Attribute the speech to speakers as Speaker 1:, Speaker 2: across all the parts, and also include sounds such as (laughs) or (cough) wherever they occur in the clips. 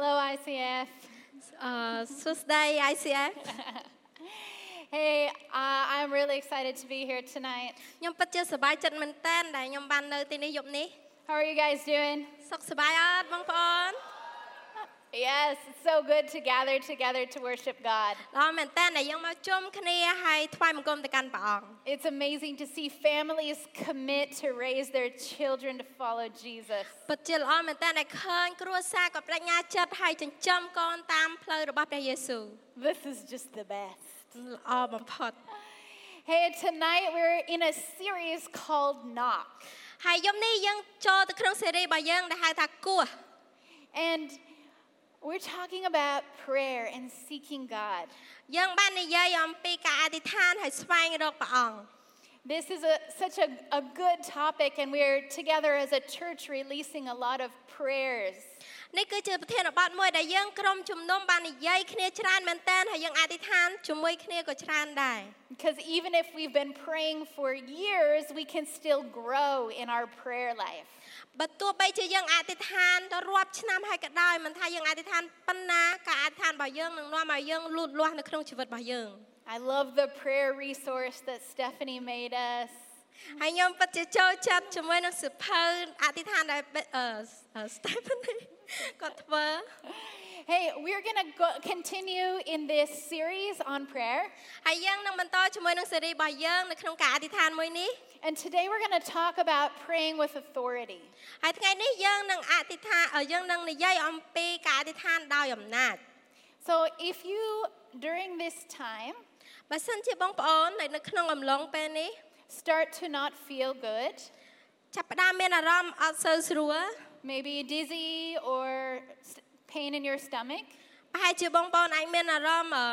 Speaker 1: ICF.
Speaker 2: អឺសួស្តី ICF
Speaker 1: Hey, uh, I'm really excited to be here tonight.
Speaker 2: ខ្ញុំពិតជាសប្បាយចិត្តមែនតើដែលខ្ញុំបាននៅទីនេះយប់នេះ
Speaker 1: How are you guys doing?
Speaker 2: សុខសប្បាយអត់បងប្អូន
Speaker 1: Yes, it's so good to gather together to worship God.
Speaker 2: ដល់មែនតើដែលយើងមកជុំគ្នាហើយថ្វាយបង្គំទៅកាន់ព្រះអង្គ
Speaker 1: It's amazing to see families commit to raise their children to follow Jesus.
Speaker 2: ពិតជាល្អមែនតើដែលឃើញគ្រួសារក៏ប្រាជ្ញាចិត្តហើយចិញ្ចឹមកូនតាមផ្លូវរបស់ព្រះយេស៊ូវ
Speaker 1: This is just the best.
Speaker 2: ល្អបំផុត
Speaker 1: Hey, tonight we're in a series called Knock.
Speaker 2: ហើយយប់នេះយើងចូលទៅក្នុងស៊េរីរបស់យើងដែលហៅថាគោះ
Speaker 1: And we're talking about prayer and seeking God.
Speaker 2: យើងបាននិយាយអំពីការអធិដ្ឋានហើយស្វែងរកព្រះអង្គ
Speaker 1: This is a, such a, a good topic, and we're together as a church releasing a lot of prayers.
Speaker 2: នេះគឺជាប្រធានបទមួយដែលយើងក្រុមជំនុំបាននិយាយគ្នាច្រើនមែនតើហើយយើងអធិដ្ឋានជាមួយគ្នាក៏ច្រើនដែរ
Speaker 1: Because even if we've been praying for years, we can still grow in our prayer life.
Speaker 2: បើទោះបីជាយើងអធិដ្ឋានទៅរាប់ឆ្នាំហើយក៏ដោយមិនថាយើងអធិដ្ឋានប៉ុណ្ណាការអធិដ្ឋានរបស់យើងនឹងនាំឲ្យយើងលូតលាស់នៅក្នុងជីវិតរបស់យើង
Speaker 1: I love the prayer resource that Stephanie made us.
Speaker 2: ហើយខ្ញុំពិតជាចូលចិត្តជាមួយនឹងសិភៅអធិដ្ឋានដែលអឺ Stephanie គាត់ធ្វើ
Speaker 1: Hey, we're going to go, continue in this series on prayer.
Speaker 2: ហើយយើងនឹងបន្តជាមួយនឹងសេរីរបស់យើងនៅក្នុងការអធិដ្ឋានមួយនេះ
Speaker 1: And today we're going to talk about praying with authority.
Speaker 2: ហើយថ្ងៃនេះយើងនឹងអធិដ្ឋានអឺយើងនឹងនិយាយអំពីការអធិដ្ឋានដោយអំណាច
Speaker 1: So if you, during this time,
Speaker 2: បើសិនជាបងប្អូននៅក្នុងអំឡុងពេលនេះ
Speaker 1: start to not feel good,
Speaker 2: ចាប់ផ្ដើមមានអារម្មណ៍អត់សូវស្រួល
Speaker 1: maybe dizzy or s- pain in your stomach,
Speaker 2: ប្រហែលជាបងប្អូនអាចមានអារម្មណ៍អឺ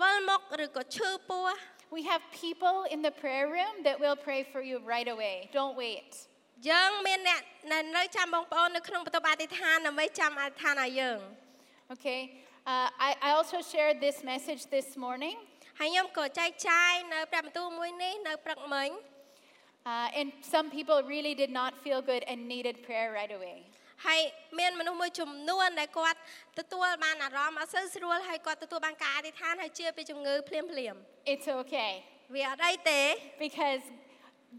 Speaker 2: វិលមុខឬក៏ឈឺពោះ
Speaker 1: we have people in the prayer room that will pray for you right away. Don't wait.
Speaker 2: យើងមានអ្នកដែលនៅចាំបងប្អូននៅក្នុងបន្ទប់អធិដ្ឋានដើម្បីចាំអធិដ្ឋានឲ្យយើង
Speaker 1: Okay? Uh, I, I also shared this message this morning,
Speaker 2: ហើយខ្ញុំក៏ចែកចាយនៅព្រះបន្ទូលមួយនេះនៅព្រឹកមិញ
Speaker 1: uh, and some people really did not feel good and needed prayer right away.
Speaker 2: ហើយមានមនុស្សមួយចំនួនដែលគាត់ទទួលបានអារម្មណ៍អត់សូវស្រួលហើយគាត់ទទួលបានការអធិដ្ឋានហើយជាពីជំងឺភ្លាមភ្លាម
Speaker 1: It's okay
Speaker 2: ៗវាអត់អីទេ
Speaker 1: because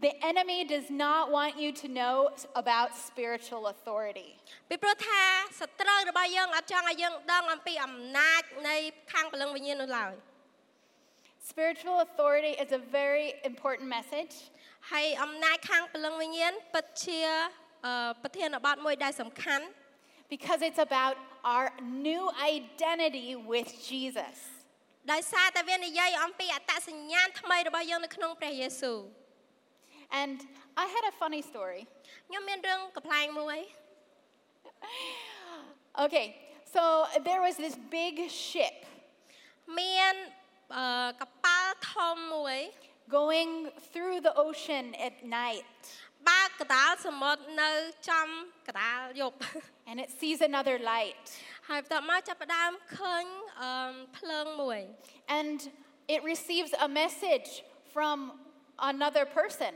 Speaker 1: the enemy does not want you to know s- about spiritual authority.
Speaker 2: ពីព្រោះថាសត្រូវរបស់យើងអត់ចង់ឲ្យយើងដឹងអំពីអំណាចនៃខាងព្រលឹងវិញ្ញាណនោះឡើយ
Speaker 1: Spiritual authority is a very important message.
Speaker 2: ហើយអំណាចខាងព្រលឹងវិញ្ញាណពិតជាអឺប្រធានបទមួយដែលសំខាន់
Speaker 1: Because it's about our new identity with Jesus.
Speaker 2: ដោយសារតែវានិយាយអំពីអត្តសញ្ញាណថ្មីរបស់យើងនៅក្នុងព្រះយេស៊ូវ
Speaker 1: And I had a funny story.
Speaker 2: ខ្ញុំមានរឿងកំ pl ែងមួយ
Speaker 1: Okay, so there was this big ship
Speaker 2: មានអឺកប៉ាល់ធំមួយ
Speaker 1: going through the ocean at night,
Speaker 2: បើកកដាលសមុទ្រនៅចំកដាលយប់ (laughs)
Speaker 1: and it sees another light.
Speaker 2: ហើយបន្ទាប់មកចាប់ផ្ដើមឃើញអឺភ្លើងមួយ
Speaker 1: And it receives a message from another person.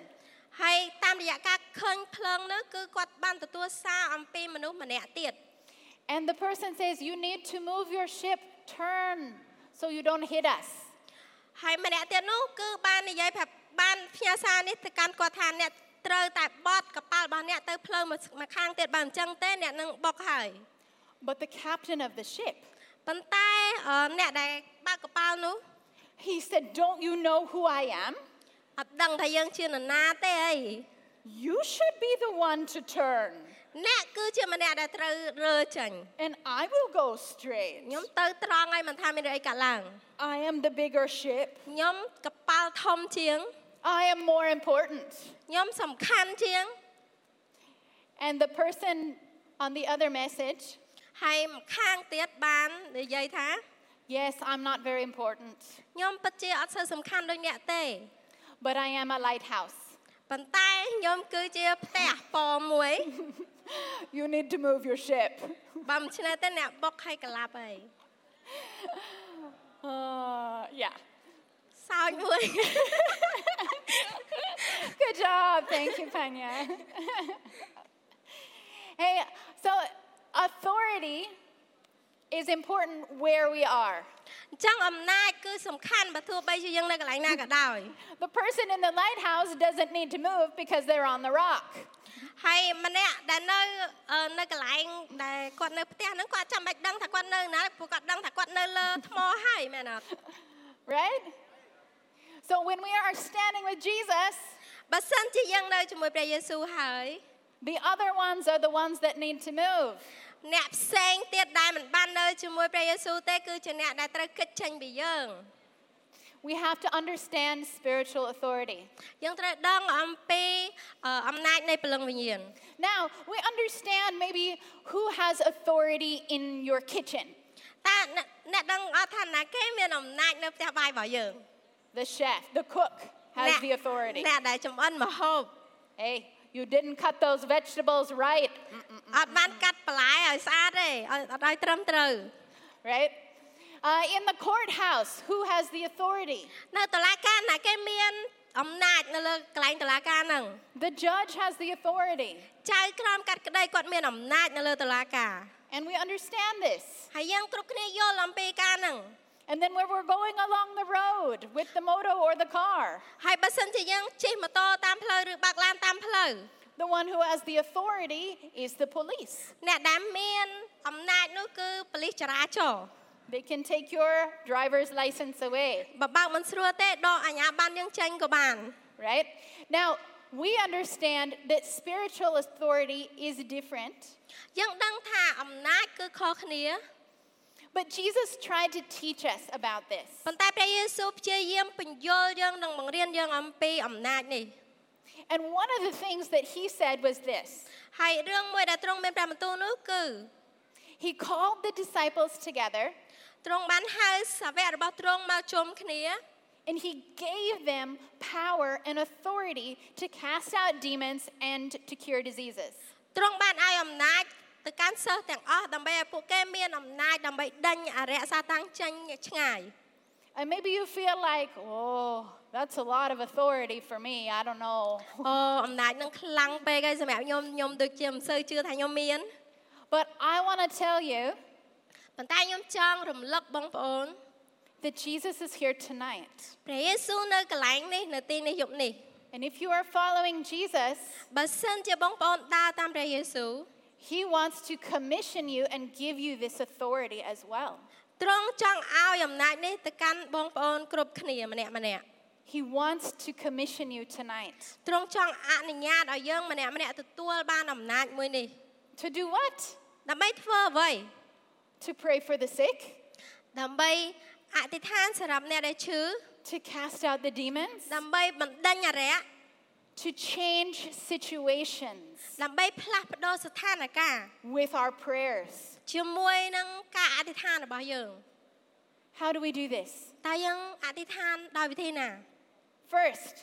Speaker 2: ហើយតាមរយៈការឃើញភ្លើងនោះគឺគាត់បានទទួលសារអំពីមនុស្សម្នាក់ទៀត
Speaker 1: And the person says, You need to move your ship, turn so you don't hit us.
Speaker 2: ហើយម្នាក់ទៀតនោះគឺបាននិយាយប្រាប់បានផ្ញើសារនេះទៅកាន់គាត់ថាអ្នកត្រូវតែបត់កប៉ាល់របស់អ្នកទៅភ្លើងមួយមួយខាងទៀតបើមិនអញ្ចឹងទេអ្នកនឹងបុកហើយ
Speaker 1: But the captain of the ship,
Speaker 2: ប៉ុន្តែអឺអ្នកដែលបើកកប៉ាល់នោះ
Speaker 1: he said, Don't you know who I am?
Speaker 2: អត់ដឹងថាយើងជានរណាទេអី
Speaker 1: You should be the one to turn,
Speaker 2: អ្នកគឺជាម្នាក់ដែលត្រូវរើចេញ
Speaker 1: and I will go straight.
Speaker 2: ខ្ញុំទៅត្រង់ហើយមិនថាមានរឿងអីកើតឡើង
Speaker 1: I am the bigger ship.
Speaker 2: ខ្ញុំកប៉ាល់ធំជាង
Speaker 1: I am more important.
Speaker 2: ខ្ញុំសំខាន់ជាង
Speaker 1: And the person on the other message,
Speaker 2: ហើយម្ខាងទៀតបាននិយាយថា
Speaker 1: yes, I'm not very important,
Speaker 2: ខ្ញុំពិតជាអត់សូវសំខាន់ដូចអ្នកទេ
Speaker 1: but I am a lighthouse.
Speaker 2: ប៉ុន្តែខ្ញុំគឺជាផ្ទះពណ៌មួយ
Speaker 1: You need to move your ship.
Speaker 2: បើមិនឆ្នះទេអ្នកបុកហើយកលាប់ហើយ
Speaker 1: Uh, yeah.
Speaker 2: សោចមួយ
Speaker 1: (laughs)
Speaker 2: (laughs)
Speaker 1: Good job. Thank you, Panya. (laughs) hey, so authority is important where we are.
Speaker 2: អញ្ចឹងអំណាចគឺសំខាន់បើទោះបីជាយើងនៅកន្លែងណាក៏ដោយ
Speaker 1: The person in the lighthouse doesn't need to move because they're on the rock.
Speaker 2: ហើយម្នាក់ដែលនៅអឺនៅកន្លែងដែលគាត់នៅផ្ទះហ្នឹងគាត់ចាំបាច់ដឹងថាគាត់នៅណាព្រោះគាត់ដឹងថាគាត់នៅលើថ្មហើយមែនអត់
Speaker 1: Right? So when we are standing with Jesus,
Speaker 2: បើសិនជាយើងនៅជាមួយព្រះយេស៊ូវហើយ
Speaker 1: the other ones are the ones that need to move.
Speaker 2: អ្នកផ្សេងទៀតដែលមិនបាននៅជាមួយព្រះយេស៊ូវទេគឺជាអ្នកដែលត្រូវគិតចេញពីយើង
Speaker 1: We have to understand spiritual authority.
Speaker 2: យើងត្រូវដឹងអំពីអឺអំណាចនៃព្រលឹងវិញ្ញាណ
Speaker 1: Now, we understand maybe who has authority in your kitchen
Speaker 2: តើអ្នកអ្នកដឹងអត់ថាណាគេមានអំណាចនៅផ្ទះបាយរបស់យើង
Speaker 1: the chef, the cook has the authority.
Speaker 2: អ្នកដែលចំអិនម្ហូប
Speaker 1: Hey, you didn't cut those vegetables right,
Speaker 2: អត់បានកាត់បន្លែឲ្យស្អាតទេឲ្យអត់ឲ្យត្រឹមត្រូវ
Speaker 1: right? Uh, in the courthouse, who has the authority?
Speaker 2: នៅតុលាការណាគេមានអំណាចនៅលើកន្លែងតុលាការហ្នឹង
Speaker 1: The judge has the authority.
Speaker 2: ចៅក្រមកាត់ក្តីគាត់មានអំណាចនៅលើតុលាការ
Speaker 1: And we understand this.
Speaker 2: ហើយយើងគ្រប់គ្នាយល់អំពីការហ្នឹង
Speaker 1: And then when we're going along the road with the moto or the car,
Speaker 2: ហើយបើសិនជាយើងជិះម៉ូតូតាមផ្លូវឬបើកឡានតាមផ្លូវ
Speaker 1: the one who has the authority is the police.
Speaker 2: អ្នកដែលមានអំណាចនោះគឺប៉ូលីសចរាចរណ៍
Speaker 1: They can take your driver's license away,
Speaker 2: បើបើកមិនស្រួលទេដកអាជ្ញាប័ណ្ណយើងចេញក៏បាន
Speaker 1: right? Now, we understand that spiritual authority is different,
Speaker 2: យើងដឹងថាអំណាចគឺខុសគ្នា
Speaker 1: but Jesus tried to teach us about this.
Speaker 2: ប៉ុន្តែព្រះយេស៊ូវព្យាយាមបញ្យល់យើងនិងបង្រៀនយើងអំពីអំណាចនេះ
Speaker 1: And one of the things that he said was this
Speaker 2: ហើយរឿងមួយដែលទ្រង់មានព្រះបន្ទូលនោះគឺ
Speaker 1: He called the disciples together
Speaker 2: ទ្រង់បានហៅសាវករបស់ទ្រង់មកជុំគ្នា (laughs)
Speaker 1: and he gave them power and authority to cast out demons and to cure diseases.
Speaker 2: ទ្រង់បានឲ្យអំណាចទៅកាន់សិស្សទាំងអស់ដើម្បីឲ្យពួកគេមានអំណាចដើម្បីដេញអរិយសាតាំងចេញឆ្ងា (laughs) យ
Speaker 1: And maybe you feel like, oh, that's a lot of authority for me. I don't know. (laughs)
Speaker 2: អូអំណាចនឹងខ្លាំងពេកហើយសម្រាប់ខ្ញុំខ្ញុំដូចជាមិនសូវជឿថាខ្ញុំមាន
Speaker 1: But I want to tell you
Speaker 2: ប៉ុន្តែខ្ញុំចង់រំលឹកបងប្អូន (laughs)
Speaker 1: that Jesus is here tonight.
Speaker 2: ព្រះយេស៊ូវនៅកន្លែងនេះនៅទីនេះយប់ (laughs) នេះ
Speaker 1: And if you are following Jesus,
Speaker 2: បើសិនជាបងប្អូនដើរតាមព្រះយេស៊ូវ
Speaker 1: he wants to commission you and give you this authority as well.
Speaker 2: ទ្រង់ចង់ឲ្យអំណាចនេះទៅកាន់បងប្អូនគ្រប់គ្នាម្នាក់ម្នាក់
Speaker 1: He wants to commission you tonight.
Speaker 2: ទ្រង់ចង់អនុញ្ញាតឲ្យយើងម្នាក់ម្នាក់ទទួលបានអំណាចមួយនេះ
Speaker 1: To do what?
Speaker 2: ដើម្បីធ្វើអ្វី
Speaker 1: To pray for the sick,
Speaker 2: ដើម្បីអធិដ្ឋានសម្រាប់អ្នកដែលឈឺ
Speaker 1: to cast out the demons,
Speaker 2: ដើម្បីបណ្ដេញអរិយ
Speaker 1: to change situations
Speaker 2: ដើម្បីផ្លាស់ប្ដូរស្ថានភាព
Speaker 1: with our prayers.
Speaker 2: ជាមួយនឹងការអធិដ្ឋានរបស់យើង
Speaker 1: How do we do this?
Speaker 2: តើយើងអធិដ្ឋានដោយវិធីណា
Speaker 1: First,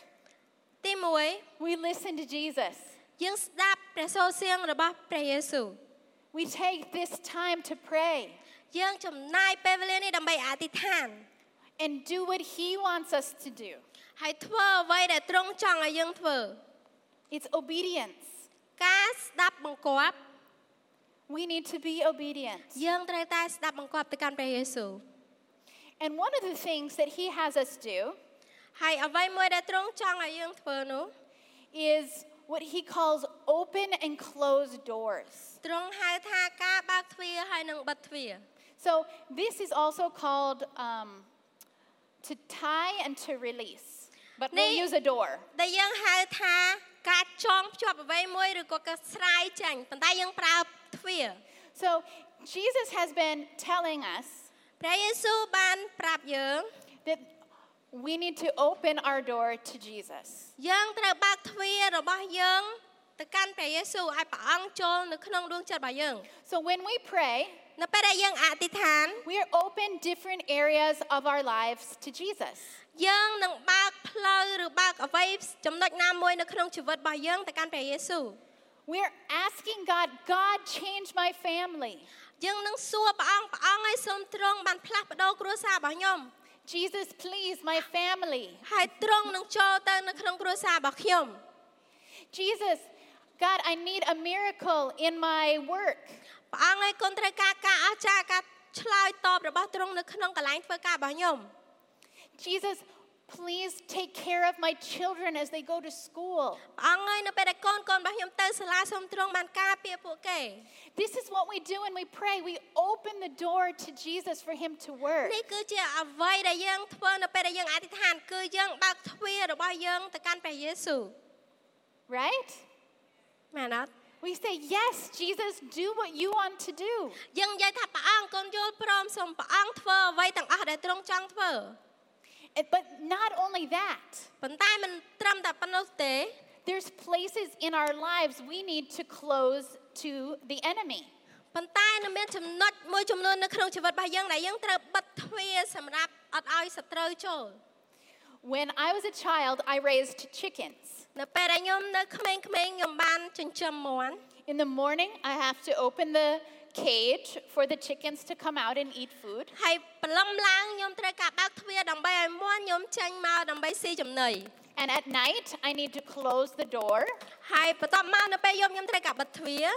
Speaker 2: ទី1
Speaker 1: we listen to Jesus.
Speaker 2: យើងស្ដាប់ព្រះសូរសៀងរបស់ព្រះយេស៊ូវ
Speaker 1: We take this time to pray
Speaker 2: យើងចំណាយពេលវេលានេះដើម្បីអធិដ្ឋាន
Speaker 1: and do what He wants us to do.
Speaker 2: ហើយធ្វើអ្វីដែលទ្រង់ចង់ឲ្យយើងធ្វើ
Speaker 1: It's obedience.
Speaker 2: ការស្ដាប់បង្គាប់
Speaker 1: We need to be obedient.
Speaker 2: យើងត្រូវតែស្ដាប់បង្គាប់ទៅកាន់ព្រះយេស៊ូវ
Speaker 1: And one of the things that He has us do
Speaker 2: ហើយអ្វីមួយដែលទ្រង់ចង់ឲ្យយើងធ្វើនោះ
Speaker 1: is what He calls open and closed doors.
Speaker 2: ទ្រង់ហៅថាការបើកទ្វារហើយនិងបិទទ្វារ
Speaker 1: So this is also called um, to tie and to release. But we'll
Speaker 2: Nay-
Speaker 1: use a door.
Speaker 2: ដែលយើងហៅថាការចងភ្ជាប់អ្វីមួយឬក៏ការស្រាយចាញ់ប៉ុន្តែយើងប្រើទ្វារ
Speaker 1: So Jesus has been telling us
Speaker 2: ព្រះយេស៊ូវបានប្រាប់យើង
Speaker 1: that we need to open our door to Jesus.
Speaker 2: យើងត្រូវបើកទ្វាររបស់យើងទៅកាន់ព្រះយេស៊ូវឲ្យព្រះអង្គចូលនៅក្នុងដួងចិត្តរបស់យើង
Speaker 1: So when we pray,
Speaker 2: នៅពេលដែលយើងអធិដ្ឋាន
Speaker 1: we are open different areas of our lives to Jesus.
Speaker 2: យើងនឹងបើកផ្លូវឬបើកអ្វីចំណុចណាមួយនៅក្នុងជីវិតរបស់យើងទៅកាន់ព្រះយេស៊ូវ
Speaker 1: We are asking God, God, change my family.
Speaker 2: យើងនឹងសួរព្រះអង្គព្រះអង្គឲ្យសូមទ្រង់បានផ្លាស់ប្ដូរគ្រួសាររបស់ខ្ញុំ
Speaker 1: Jesus, please, my family.
Speaker 2: ហើយទ្រង់នឹងចូលទៅនៅក្នុងគ្រួសាររបស់ខ្ញុំ
Speaker 1: Jesus, God, I need a miracle in my work.
Speaker 2: ព្រះអង្គឲ្យកូនត្រូវការការអស្ចារ្យការ ឆ្លើយតបរបស់ទ្រង់នៅក្នុងកន្លែងធ្វើការរបស់ខ្ញុំ
Speaker 1: Jesus, please take care of my children as they go to school.
Speaker 2: ព្រះអង្គហើយនៅពេលដែលកូនកូនរបស់ខ្ញុំទៅសាលាសូមទ្រង់បានការពារពួកគេ
Speaker 1: This is what we do when we pray. We open the door to Jesus for him to work.
Speaker 2: នេះគឺជាអ្វីដែលយើងធ្វើនៅពេលដែលយើងអធិដ្ឋាន គឺយើងបើកទ្វាររបស់យើងទៅកាន់ព្រះយេស៊ូវ
Speaker 1: Right?
Speaker 2: មែនអត់
Speaker 1: We say, Yes, Jesus, do what you want to do.
Speaker 2: យើងនិយាយថាព្រះអង្គកូនយល់ព្រមសូមព្រះអង្គធ្វើអ្វីទាំងអស់ដែលទ្រង់ចង់ធ្វើ
Speaker 1: It- But not only that,
Speaker 2: ប៉ុន្តែមិនត្រឹមតែប៉ុណ្ណោះទេ
Speaker 1: there's places in our lives we need to close to the enemy.
Speaker 2: ប៉ុន្តែនៅមានចំណុចមួយចំនួននៅក្នុងជីវិតរបស់យើងដែលយើងត្រូវបិទទ្វារសម្រាប់អត់ឲ្យសត្រូវចូល
Speaker 1: When I was a child, I raised chickens.
Speaker 2: នៅពេលដែលខ្ញុំនៅក្មេងៗខ្ញុំបានចិញ្ចឹមមាន់
Speaker 1: In the morning, I have to open the cage for the chickens to come out and eat food.
Speaker 2: ហើយព្រលឹមឡើងខ្ញុំត្រូវការបើកទ្វារដើម្បីឲ្យមាន់ខ្ញុំចេញមកដើម្បីស៊ីចំណី
Speaker 1: And at night, I need to close the door
Speaker 2: ហើយបន្ទាប់មកនៅពេលយប់ខ្ញុំត្រូវការបិទទ្វារ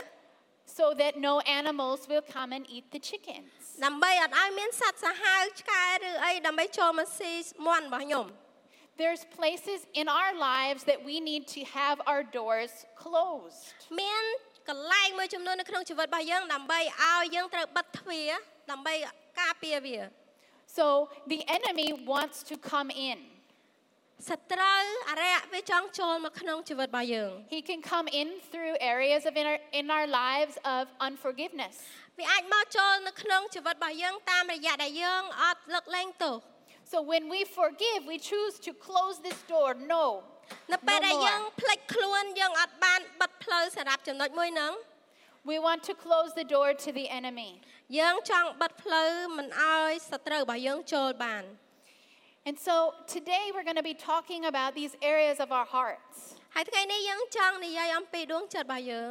Speaker 1: so that no animals will come and eat the chickens.
Speaker 2: ដើម្បីអត់ឲ្យមានសត្វសាហាវឆ្កែឬអីដើម្បីចូលមកស៊ីមាន់របស់ខ្ញុំ
Speaker 1: There's places in our lives that we need to have our doors closed.
Speaker 2: មានកន្លែងមួយចំនួននៅក្នុងជីវិតរបស់យើងដើម្បីឲ្យយើងត្រូវបិទទ្វារដើម្បីការពារវា
Speaker 1: So the enemy wants to come in.
Speaker 2: សត្រូវអរិយវាចង់ចូលមកក្នុងជីវិតរបស់យើង
Speaker 1: He can come in through areas of in our, in our lives of unforgiveness,
Speaker 2: វាអាចមកចូលនៅក្នុងជីវិតរបស់យើងតាមរយៈដែលយើងអត់លើកលែងទោស
Speaker 1: So when we forgive, we choose to close this door. No.
Speaker 2: នៅពេល
Speaker 1: No
Speaker 2: ដែលយើង
Speaker 1: more.
Speaker 2: ផ្លិចខ្លួនយើងអត់បានបិទផ្លូវសម្រាប់ចំណុចមួយហ្នឹង
Speaker 1: We want to close the door to the enemy.
Speaker 2: យើងចង់បិទផ្លូវមិនឲ្យសត្រូវរបស់យើងចូលបាន
Speaker 1: And so today we're going to be talking about these areas of our hearts
Speaker 2: ហើយថ្ងៃនេះយើងចង់និយាយអំពីដួងចិត្តរបស់យើង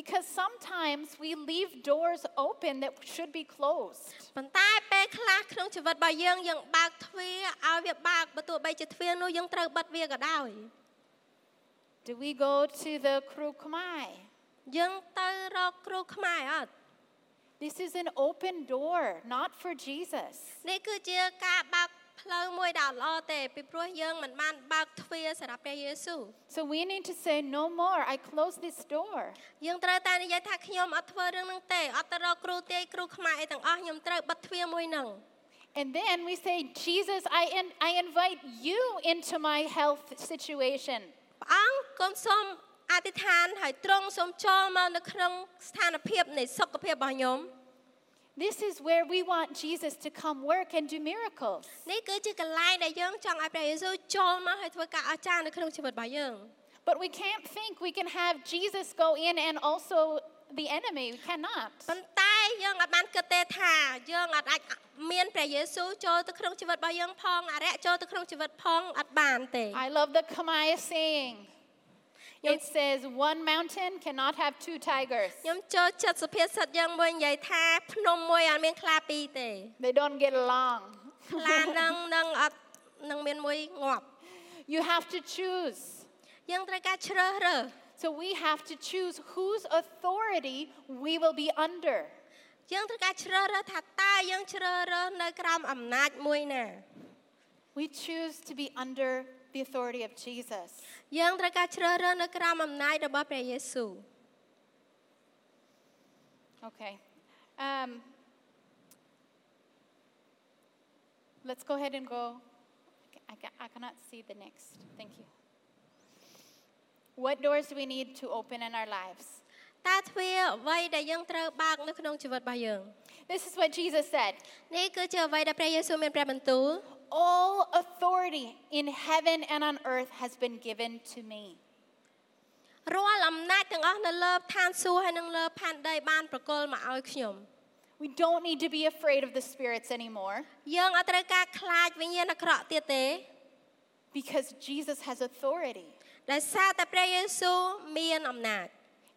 Speaker 1: because sometimes we leave doors open that should be closed.
Speaker 2: ប៉ុន្តែពេលខ្លះក្នុងជីវិតរបស់យើងយើងបើកទ្វារឲ្យវាបើកបើទោះបីជាទ្វារនោះយើងត្រូវបិទវាក៏ដោយ
Speaker 1: Do we go to the Krukmai?
Speaker 2: យើងទៅរកគ្រូខ្មែរអត់
Speaker 1: This is an open door, not for Jesus.
Speaker 2: នេះគឺជាការបើកផ្លូវមួយដ៏ល្អទេពីព្រោះយើងមិនបានបើកទ្វារសម្រាប់ព្រះយេស៊ូវ
Speaker 1: So we need to say, No more. I close this door.
Speaker 2: យើងត្រូវតែនិយាយថាខ្ញុំអត់ធ្វើរឿងហ្នឹងទេអត់ទៅរកគ្រូទាយគ្រូខ្មែរអីទាំងអស់ខ្ញុំត្រូវបិទទ្វារមួយហ្នឹង
Speaker 1: And then we say, Jesus, I, in- I invite you into my health situation.
Speaker 2: ព្រះអង្គកូនសូមអធិដ្ឋានឲ្យទ្រង់សូមចូលមកនៅក្នុងស្ថានភាពនៃសុខភាពរបស់ខ្ញុំ
Speaker 1: This is where we want Jesus to come work and do miracles.
Speaker 2: នេះគឺជាកន្លែងដែលយើងចង់ឲ្យព្រះយេស៊ូវចូលមកឲ្យធ្វើការអស្ចារ្យនៅក្នុងជីវិតរបស់យើង
Speaker 1: But we can't think we can have Jesus go in and also the enemy. We cannot.
Speaker 2: ប៉ុន្តែយើងអាចបានគិតទេថាយើងអាចអាចមានព្រះយេស៊ូវចូលទៅក្នុងជីវិតរបស់យើងផងអរិយចូលទៅក្នុងជីវិតផងអត់បានទេ
Speaker 1: I love the Kamaya saying. It says, one mountain cannot have two tigers.
Speaker 2: ខ្ញុំចូលចិត្តសុភាសិតយើងមួយនិយាយថាភ្នំមួយអត់មានខ្លាពីរទេ
Speaker 1: They don't get along.
Speaker 2: ខ្លានឹងនឹងអត់នឹងមានមួយងាប់
Speaker 1: You have to choose.
Speaker 2: យើងត្រូវការជ្រើសរើស
Speaker 1: So we have to choose whose authority we will be under.
Speaker 2: យើងត្រូវការជ្រើសរើសថាតើយើងជ្រើសរើសនៅក្រោមអំណាចមួយណា
Speaker 1: We choose to be under the authority of Jesus.
Speaker 2: យើងត្រូវការជ្រើសរើសនៅក្រោមអំណាចរបស់ព្រះយេស៊ូវ
Speaker 1: Okay. Um, let's go ahead and go. I, ca- I cannot see the next. Thank you. What doors do we need to open in our lives?
Speaker 2: តើទ្វារអ្វីដែលយើងត្រូវបើកនៅក្នុងជីវិតរបស់យើង
Speaker 1: This is what Jesus said
Speaker 2: នេះគឺជាអ្វីដែលព្រះយេស៊ូវមានព្រះបន្ទូល
Speaker 1: All authority in heaven and on earth has been given to me.
Speaker 2: រាល់អំណាចទាំងអស់នៅលើឋានសួគ៌ហើយនិងលើផែនដីបានប្រគល់មកឲ្យខ្ញុំ
Speaker 1: We don't need to be afraid of the spirits anymore
Speaker 2: យើងអត់ត្រូវការខ្លាចវិញ្ញាណអាក្រក់ទៀតទេ
Speaker 1: because Jesus has authority.
Speaker 2: ដោយសារតែព្រះយេស៊ូវមានអំណាច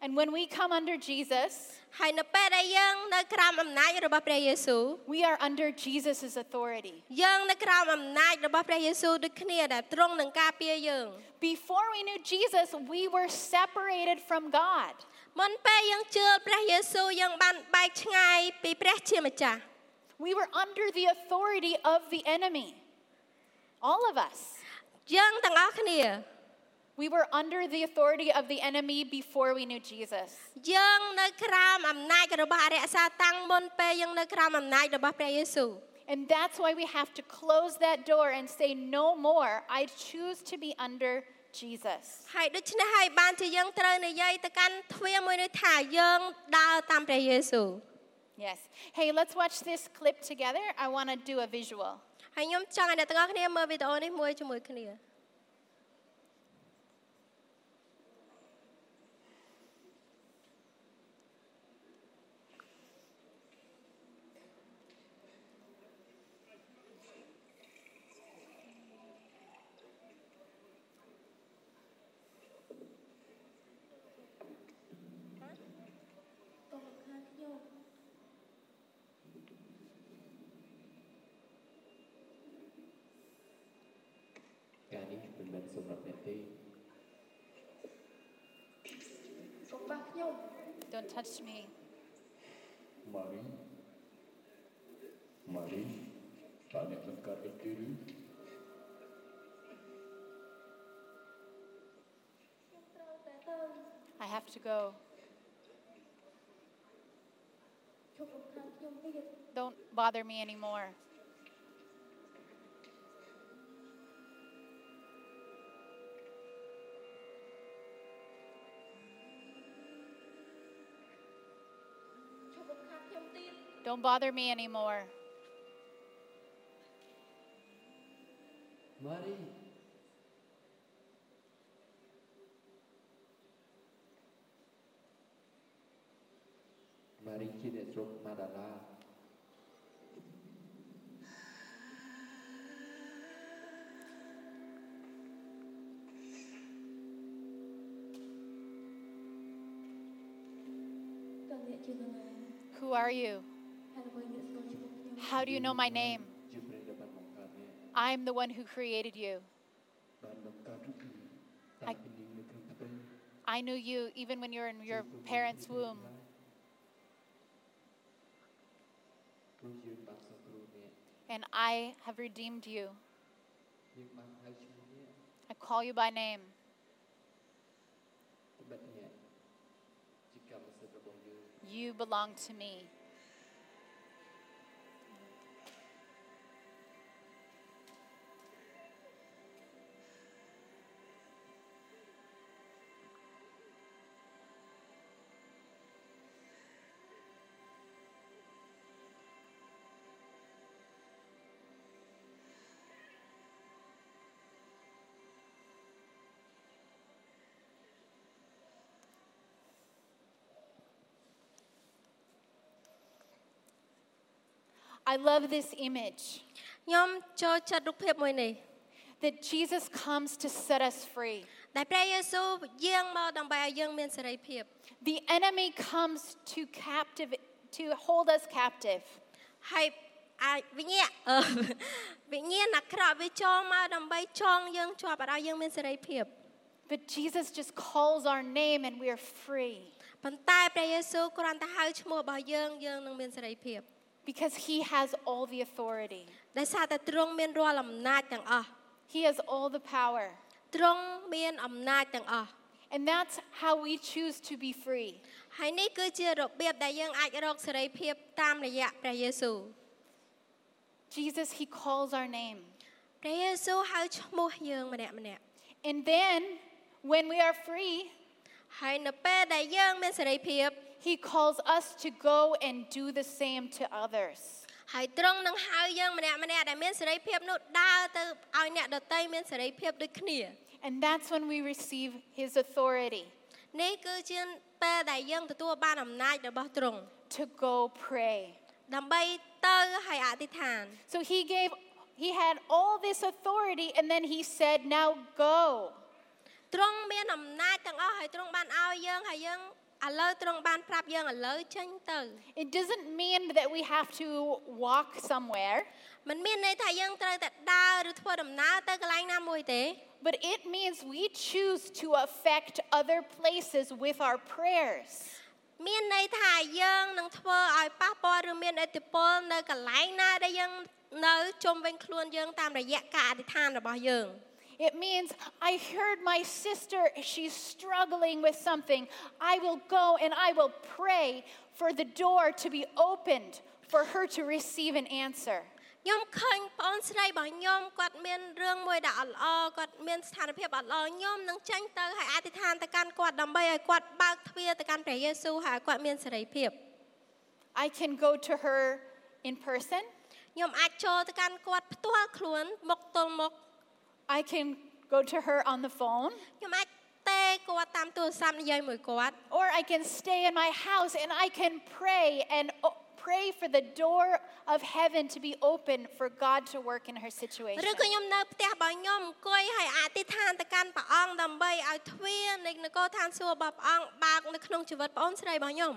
Speaker 1: And when we come under Jesus,
Speaker 2: ហើយនៅពេលដែលយើងនៅក្រោមអំណាចរបស់ព្រះយេស៊ូវ
Speaker 1: we are under Jesus' authority.
Speaker 2: យើងនៅក្រោមអំណាចរបស់ព្រះយេស៊ូវដូចគ្នាដែលទ្រង់នឹងការពារយើង
Speaker 1: Before we knew Jesus, we were separated from God.
Speaker 2: មុនពេលយើងជឿព្រះយេស៊ូវយើងបានបែកឆ្ងាយពីព្រះជាម្ចាស់
Speaker 1: We were under the authority of the enemy. All of us.
Speaker 2: យើងទាំងអស់គ្នា
Speaker 1: We were under the authority of the enemy before we knew Jesus.
Speaker 2: យើងនៅក្រោមអំណាចរបស់អរិយសាតាំងមុនពេលយើងនៅក្រោមអំណាចរបស់ព្រះយេស៊ូវ
Speaker 1: And that's why we have to close that door and say, No more. I choose to be under Jesus.
Speaker 2: ហើយដូច្នេះហើយបានជាយើងត្រូវនិយាយទៅកាន់ទ្វារមួយនេះថាយើងដើរតាមព្រះយេស៊ូវ
Speaker 1: Yes. Hey, let's watch this clip together. I want to do a visual.
Speaker 2: ហើយខ្ញុំចង់ឲ្យអ្នកទាំងអស់គ្នាមើលវីដេអូនេះមួយជាមួយគ្នា
Speaker 3: ការនេះមិនមែនសម្រាប់អ្នកទេ
Speaker 1: Don't touch me.
Speaker 3: ម៉ារីម៉ារីតើអ្នកមិនកើតអីទេឬ
Speaker 1: I have to go. Don't bother me anymore.
Speaker 2: ជុំខាងខ្ញុំទៀត
Speaker 1: Don't bother me anymore.
Speaker 3: ម៉ារីម៉ារីជាអ្នកស្រុកម៉ាដាឡា
Speaker 4: តើអ្នកជានរណា
Speaker 1: Who are you?
Speaker 4: ហើយអ្វីអ្នកស្គាល់ឈ្មោះខ្ញុំ
Speaker 1: How do you know my name?
Speaker 3: ជាព្រះដែលបានបង្កើតនេះ
Speaker 1: I'm the one who created you.
Speaker 3: បានបង្កើតរូបនេះតាំងពីនាងនៅក្នុងផ្ទៃ
Speaker 1: I knew you even when you were in your parents' womb.
Speaker 3: ព្រោះយើងបានសង្គ្រោះអ្នក
Speaker 1: And I have redeemed you.
Speaker 3: យើងបានហៅឈ្មោះអ្នក
Speaker 1: I call you by name.
Speaker 3: ត្បិតអ្នកជាកម្មសិទ្ធិរបស់យើង
Speaker 1: You belong to me. I love this image
Speaker 2: ខ្ញុំចូលចិត្តរូបភាពមួយនេះ
Speaker 1: that Jesus comes to set us free.
Speaker 2: ដែលព្រះយេស៊ូវយាងមកដើម្បីឲ្យយើងមានសេរីភាព
Speaker 1: The enemy comes to captive to hold us captive.
Speaker 2: ហើយអាចវិញ្ញាណអឺ (laughs) វិញ្ញាណអាក្រក់វាចូលមកដើម្បីចងយើងជាប់ឲ្យយើងមានសេរីភាព
Speaker 1: But Jesus just calls our name and we are free
Speaker 2: ប៉ុន្តែព្រះយេស៊ូវគ្រាន់តែហៅឈ្មោះរបស់យើងយើងនឹងមានសេរីភាព
Speaker 1: because he has all the authority.
Speaker 2: ដោយសារតែទ្រង់មានរាល់អំណាចទាំងអស់
Speaker 1: He has all the power.
Speaker 2: ទ្រង់មានអំណាចទាំងអស់
Speaker 1: And that's how we choose to be free.
Speaker 2: ហើយនេះគឺជារបៀបដែលយើងអាចរកសេរីភាពតាមរយៈព្រះយេស៊ូវ
Speaker 1: Jesus, he calls our name.
Speaker 2: ព្រះយេស៊ូវហៅឈ្មោះយើងម្នាក់ម្នាក់
Speaker 1: And then when we are free,
Speaker 2: ហើយនៅពេលដែលយើងមានសេរីភាព
Speaker 1: he calls us to go and do the same to others.
Speaker 2: ហើយទ្រង់នឹងហៅយើងម្នាក់ម្នាក់ដែលមានសេរីភាពនោះដើរទៅឲ្យអ្នកដទៃមានសេរីភាពដូចគ្នា
Speaker 1: And that's when we receive his authority
Speaker 2: នេះគឺជាពេលដែលយើងទទួលបានអំណាចរបស់ទ្រង់
Speaker 1: to go pray.
Speaker 2: ដើម្បីទៅឲ្យអធិដ្ឋាន
Speaker 1: So he gave he had all this authority and then he said, "Now go."
Speaker 2: ទ្រង់មានអំណាចទាំងអស់ហើយទ្រង់បានឲ្យយើងហើយយើងឥឡូវទ្រង់បានប្រាប់យើងឥឡូវចេញទៅ
Speaker 1: It doesn't mean that we have to walk somewhere,
Speaker 2: มันមានន័យថាយើងត្រូវតែដើរឬធ្វើដំណើរទៅកន្លែងណាមួយទេ
Speaker 1: but it means we choose to affect other places with our prayers.
Speaker 2: មានន័យថាយើងនឹងធ្វើឲ្យប៉ះពាល់ឬមានឥទ្ធិពលនៅកន្លែងណាដែលយើងនៅជុំវិញខ្លួនយើងតាមរយៈការអធិដ្ឋានរបស់យើង
Speaker 1: It means I heard my sister, she's struggling with something. I will go and I will pray for the door to be opened for her to receive an answer.
Speaker 2: ខ្ញុំឃើញប្អូនស្រីរបស់ខ្ញុំគាត់មានរឿងមួយដែលអត់ល្អគាត់មានស្ថានភាពអត់ល្អខ្ញុំនឹងចេញទៅហើយអធិដ្ឋានទៅកាន់គាត់ដើម្បីឲ្យគាត់បើកទ្វារទៅកាន់ព្រះយេស៊ូវហើយឲ្យគាត់មានសេរីភាព
Speaker 1: I can go to her in person,
Speaker 2: ខ្ញុំអាចចូលទៅកាន់គាត់ផ្ទាល់ខ្លួនមុខទល់មុខ
Speaker 1: I can go to her on the phone,
Speaker 2: ខ្ញុំអាចទេគាត់តាមទូរស័ព្ទនិយាយមួយគាត់
Speaker 1: or I can stay in my house and I can pray and o- pray for the door of heaven to be open for God to work in her
Speaker 2: ឬ
Speaker 1: situation.
Speaker 2: ក៏ខ្ញុំនៅផ្ទះរបស់ខ្ញុំអង្គុយហើយអធិដ្ឋានទៅកាន់ព្រះអង្គដើម្បីឲ្យទ្វារនៃនគរឋានសួគ៌របស់ព្រះអង្គបើកនៅក្នុងជីវិតប្អូនស្រីរបស់ខ្ញុំ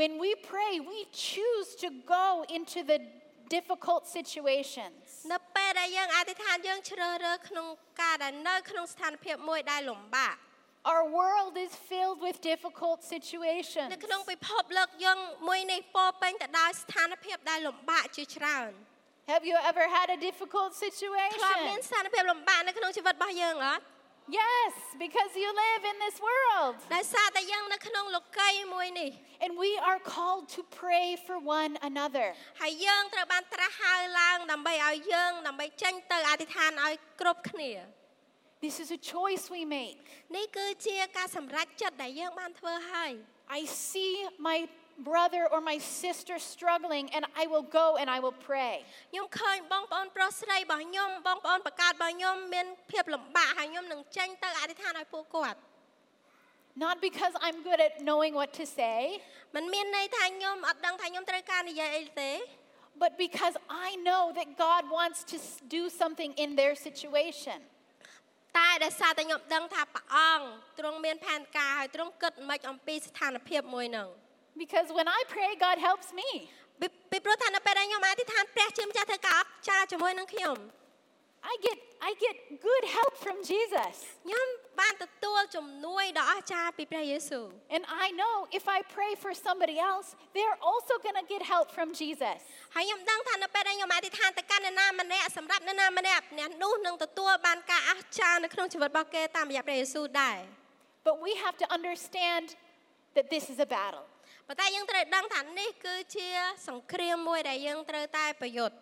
Speaker 1: When we pray, we choose to go into the difficult situations.
Speaker 2: នៅពេលដែលយើងអធិដ្ឋានយើងជ្រើសរើសក្នុងការដែលនៅក្នុងស្ថានភាពមួយដែលលំបាក
Speaker 1: Our world is filled with difficult situations.
Speaker 2: នៅក្នុងពិភពលោកយើងមួយនេះពោរពេញទៅដោយស្ថានភាពដែលលំបាកជាច្រើន
Speaker 1: Have you ever had a difficult
Speaker 2: ធ្លាប់មាន
Speaker 1: situation?
Speaker 2: ស្ថានភាពលំបាកនៅក្នុងជីវិតរបស់យើងអត់
Speaker 1: Yes, because you live in this world.
Speaker 2: ដោយសារតែយើងនៅក្នុងលោកីយ៍មួយនេះ
Speaker 1: And we are called to pray for one another.
Speaker 2: ហើយយើងត្រូវបានត្រាស់ហៅឡើងដើម្បីឲ្យយើងដើម្បីចេញទៅអធិដ្ឋានឲ្យគ្រប់គ្នា
Speaker 1: This is a choice we make.
Speaker 2: នេះគឺជាការសម្រេចចិត្តដែលយើងបានធ្វើហើយ
Speaker 1: I see my brother or my sister struggling, and I will go and I will pray.
Speaker 2: ខ្ញុំឃើញបងប្អូនប្រុសស្រីរបស់ខ្ញុំបងប្អូនបកើតរបស់ខ្ញុំមានភាពលំបាកហើយខ្ញុំនឹងចេញទៅអធិដ្ឋានឲ្យពួកគាត់
Speaker 1: Not because I'm good at knowing what to say,
Speaker 2: มันមានន័យថាខ្ញុំអត់ដឹងថាខ្ញុំត្រូវការនិយាយអីទេ
Speaker 1: but because I know that God wants to s- do something in their situation.
Speaker 2: តែដោយសារតែខ្ញុំដឹងថាព្រះអង្គទ្រង់មានផែនការហើយទ្រង់គិតមិនអំពីស្ថានភាពមួយហ្នឹង
Speaker 1: Because when I pray, God helps me.
Speaker 2: ពីពីព្រោះថានៅពេលដែលខ្ញុំអធិដ្ឋានព្រះជាម្ចាស់ធ្វើការអស្ចារ្យជាមួយនឹងខ្ញុំ
Speaker 1: I get, I get good help from Jesus.
Speaker 2: ខ្ញុំបានទទួលជំនួយដ៏អស្ចារ្យពីព្រះយេស៊ូវ
Speaker 1: And I know if I pray for somebody else, they're also going to get help from Jesus.
Speaker 2: ហើយខ្ញុំដឹងថានៅពេលដែលខ្ញុំអធិដ្ឋានទៅកាន់អ្នកណាម្នាក់សម្រាប់អ្នកណាម្នាក់អ្នកនោះនឹងទទួលបានការអស្ចារ្យនៅក្នុងជីវិតរបស់គេតាមរយៈព្រះយេស៊ូវដែរ
Speaker 1: But we have to understand that this is a battle.
Speaker 2: ប៉ុន្តែយើងត្រូវដឹងថានេះគឺជាសង្គ្រាមមួយដែលយើងត្រូវតែប្រយុទ្ធ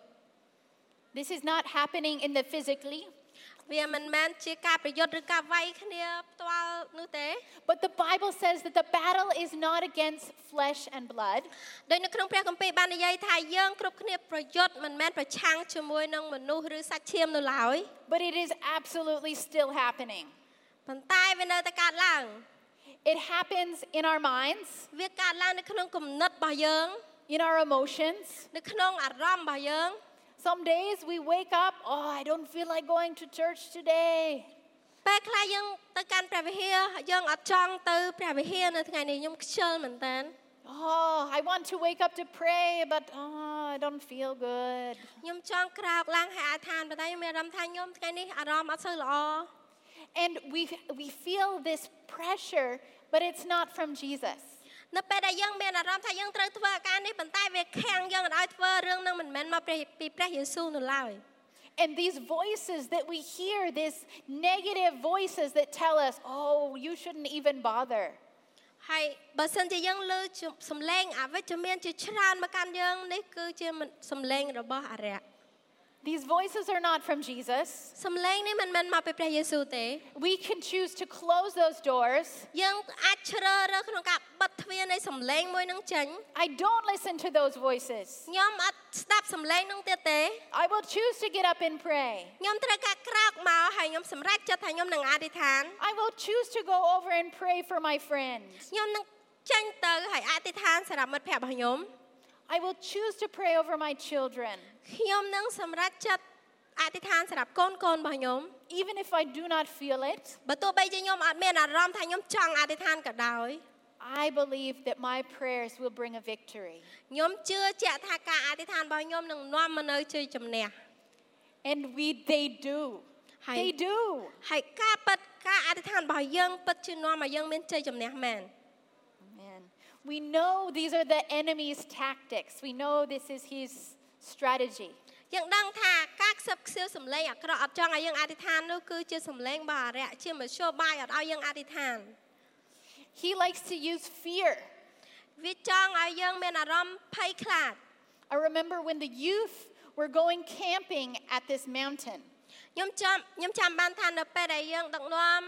Speaker 1: This is not happening in the physically,
Speaker 2: វាមិនមែនជាការប្រយុទ្ធឬការវាយគ្នាផ្ទាល់នោះទេ
Speaker 1: but the Bible says that the battle is not against flesh and blood,
Speaker 2: ដោយនៅក្នុងព្រះគម្ពីរបាននិយាយថាយើងគ្រប់គ្នាប្រយុទ្ធមិនមែនប្រឆាំងជាមួយនឹងមនុស្សឬសាច់ឈាមនោះឡើយ
Speaker 1: but it is absolutely still happening.
Speaker 2: ប៉ុន្តែវានៅតែកើតឡើង
Speaker 1: It happens in our minds,
Speaker 2: វាកើតឡើងនៅក្នុងគំនិតរបស់យើង
Speaker 1: in our emotions.
Speaker 2: នៅក្នុងអារម្មណ៍របស់យើង
Speaker 1: Some days we wake up, oh, I don't feel like going to church today.
Speaker 2: ពេលខ្លះយើងទៅកាន់ព្រះវិហារយើងអត់ចង់ទៅព្រះវិហារនៅថ្ងៃនេះខ្ញុំខ្ជិលមែនតើ
Speaker 1: Oh, I want to wake up to pray, but oh, I don't feel good.
Speaker 2: ខ្ញុំចង់ក្រោកឡើងហើយអធិដ្ឋានប៉ុន្តែខ្ញុំមានអារម្មណ៍ថាខ្ញុំថ្ងៃនេះអារម្មណ៍អត់សូវល្អ
Speaker 1: And we, we feel this pressure, but it's not from Jesus.
Speaker 2: នៅពេលដែលយើងមានអារម្មណ៍ថាយើងត្រូវធ្វើអាការនេះប៉ុន្តែវាខាំងយើងមិនឲ្យធ្វើរឿងនឹងមិនមែនមកព្រះពីព្រះយេស៊ូវនោះឡើយ
Speaker 1: And these voices that we hear, these negative voices that tell us, oh, you shouldn't even bother.
Speaker 2: ហើយបើសិនជាយើងលើសំឡេងអវិជ្ជមានជាច្រើនមកកាន់យើងនេះគឺជាមិនសំឡេងរបស់អរិយ
Speaker 1: These voices are not from Jesus.
Speaker 2: សំឡេងនេះមិនមែនមកពីព្រះយេស៊ូវទេ
Speaker 1: We can choose to close those doors.
Speaker 2: យើងអាចជ្រើសរើសក្នុងការបិទទ្វារនៃសំឡេងមួយនឹងចេញ
Speaker 1: I don't listen to those voices.
Speaker 2: ខ្ញុំអត់ស្ដាប់សំឡេងនឹងទៀតទេ
Speaker 1: I will choose to get up and pray.
Speaker 2: ខ្ញុំត្រូវការក្រោកមកហើយខ្ញុំសម្រេចចិត្តថាខ្ញុំនឹងអធិដ្ឋាន
Speaker 1: I will choose to go over and pray for my friend.
Speaker 2: ខ្ញុំនឹងចេញទៅហើយអធិដ្ឋានសម្រាប់មិត្តភក្តិរបស់ខ្ញុំ
Speaker 1: I will choose to pray over my children,
Speaker 2: ខ្ញុំនឹងសម្រេចចិត្តអធិដ្ឋានសម្រាប់កូនកូនរបស់ខ្ញុំ
Speaker 1: even if I do not feel it.
Speaker 2: បើទោះបីជាខ្ញុំអត់មានអារម្មណ៍ថាខ្ញុំចង់អធិដ្ឋានក៏ដោយ
Speaker 1: I believe that my prayers will bring a victory.
Speaker 2: ខ្ញុំជឿជាក់ថាការអធិដ្ឋានរបស់ខ្ញុំនឹងនាំមកនៅជ័យជំនះ
Speaker 1: And we they do.
Speaker 2: Hi.
Speaker 1: They do.
Speaker 2: ហើយការពិតការអធិដ្ឋានរបស់យើងពិតជានាំឲ្យយើងមានជ័យជំនះមែន
Speaker 1: Amen. We know these are the enemy's tactics. We know this is his strategy.
Speaker 2: យើងដឹងថាការខ្សឹបខ្សៀវសំឡេងអាក្រក់អត់ចង់ឲ្យយើងអធិដ្ឋាននោះគឺជាសំឡេងបអារៈជាមធ្យោបាយអត់ឲ្យយើងអធិដ្ឋាន
Speaker 1: He likes to use fear.
Speaker 2: វាចង់ឲ្យយើងមានអារម្មណ៍ភ័យខ្លាច
Speaker 1: I remember when the youth were going camping at this mountain.
Speaker 2: ខ្ញុំចាំខ្ញុំចាំបានថានៅពេលដែលយើងដឹកនាំ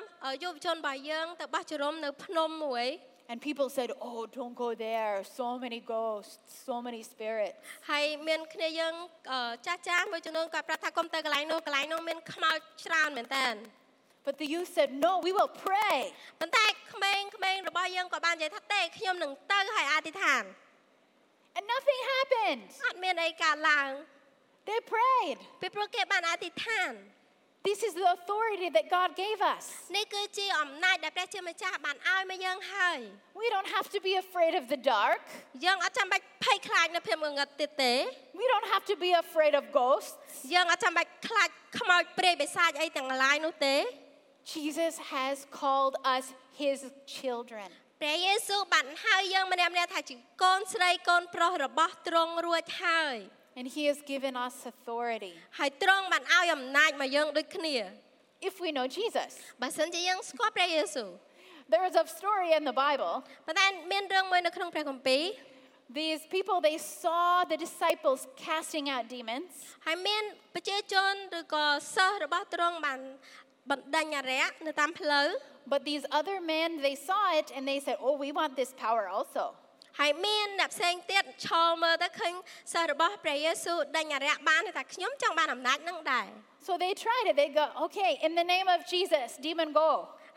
Speaker 2: យុវជនរបស់យើងទៅបោះជំរំនៅភ្នំមួយ
Speaker 1: And people said, Oh, don't go there. So many ghosts, so many spirits.
Speaker 2: ហើយមានគ្នាយើងអឺចាស់ចាស់មួយចំនួនគាត់ប្រាប់ថាកុំទៅកន្លែងនោះកន្លែងនោះមានខ្មោចច្រើនមែនតើ
Speaker 1: But the youth said, No, we will pray.
Speaker 2: ប៉ុន្តែក្មេងក្មេងរបស់យើងក៏បាននិយាយថាទេខ្ញុំនឹងទៅហើយអធិដ្ឋាន
Speaker 1: And nothing happened.
Speaker 2: អត់មានអីកើតឡើង
Speaker 1: They prayed.
Speaker 2: ពីព្រោះគេបានអធិដ្ឋាន
Speaker 1: This is the authority that God gave us.
Speaker 2: នេះគឺជាអំណាចដែលព្រះជាម្ចាស់បានឲ្យមកយើងហើយ
Speaker 1: We don't have to be afraid of the dark.
Speaker 2: យើងអត់ចាំបាច់ភ័យខ្លាចនៅភាពងងឹតទៀតទេ
Speaker 1: We don't have to be afraid of ghosts.
Speaker 2: យើងអត់ចាំបាច់ខ្លាចខ្មោចព្រាយបិសាចអីទាំងឡាយនោះទេ
Speaker 1: Jesus has called us his children.
Speaker 2: ព្រះយេស៊ូវបានហៅយើងម្នាក់ៗថាជាកូនស្រីកូនប្រុសរបស់ទ្រង់រួចហើយ
Speaker 1: And he has given us authority
Speaker 2: ហើយទ្រង់បានឲ្យអំណាចមកយើងដូចគ្នា
Speaker 1: if we know Jesus.
Speaker 2: បើសិនជាយើងស្គាល់ព្រះយេស៊ូវ
Speaker 1: There is a story in the Bible.
Speaker 2: ប៉ុន្តែមានរឿងមួយនៅក្នុងព្រះគម្ពីរ
Speaker 1: These people, they saw the disciples casting out demons,
Speaker 2: ហើយមានប្រជាជនឬក៏សិស្សរបស់ទ្រង់បានបណ្ដេញអារក្សនៅតាមផ្លូវ
Speaker 1: but these other men, they saw it and they said, Oh, we want this power also.
Speaker 2: ហើយមានអ្នកផ្សេងទៀតឈរមើលទៅឃើញសិស្សរបស់ព្រះយេស៊ូវដេញអារក្សបានថាខ្ញុំចង់បានអំណាចនឹងដែរ
Speaker 1: So they tried it. They go, Okay, in the name of Jesus, demon go.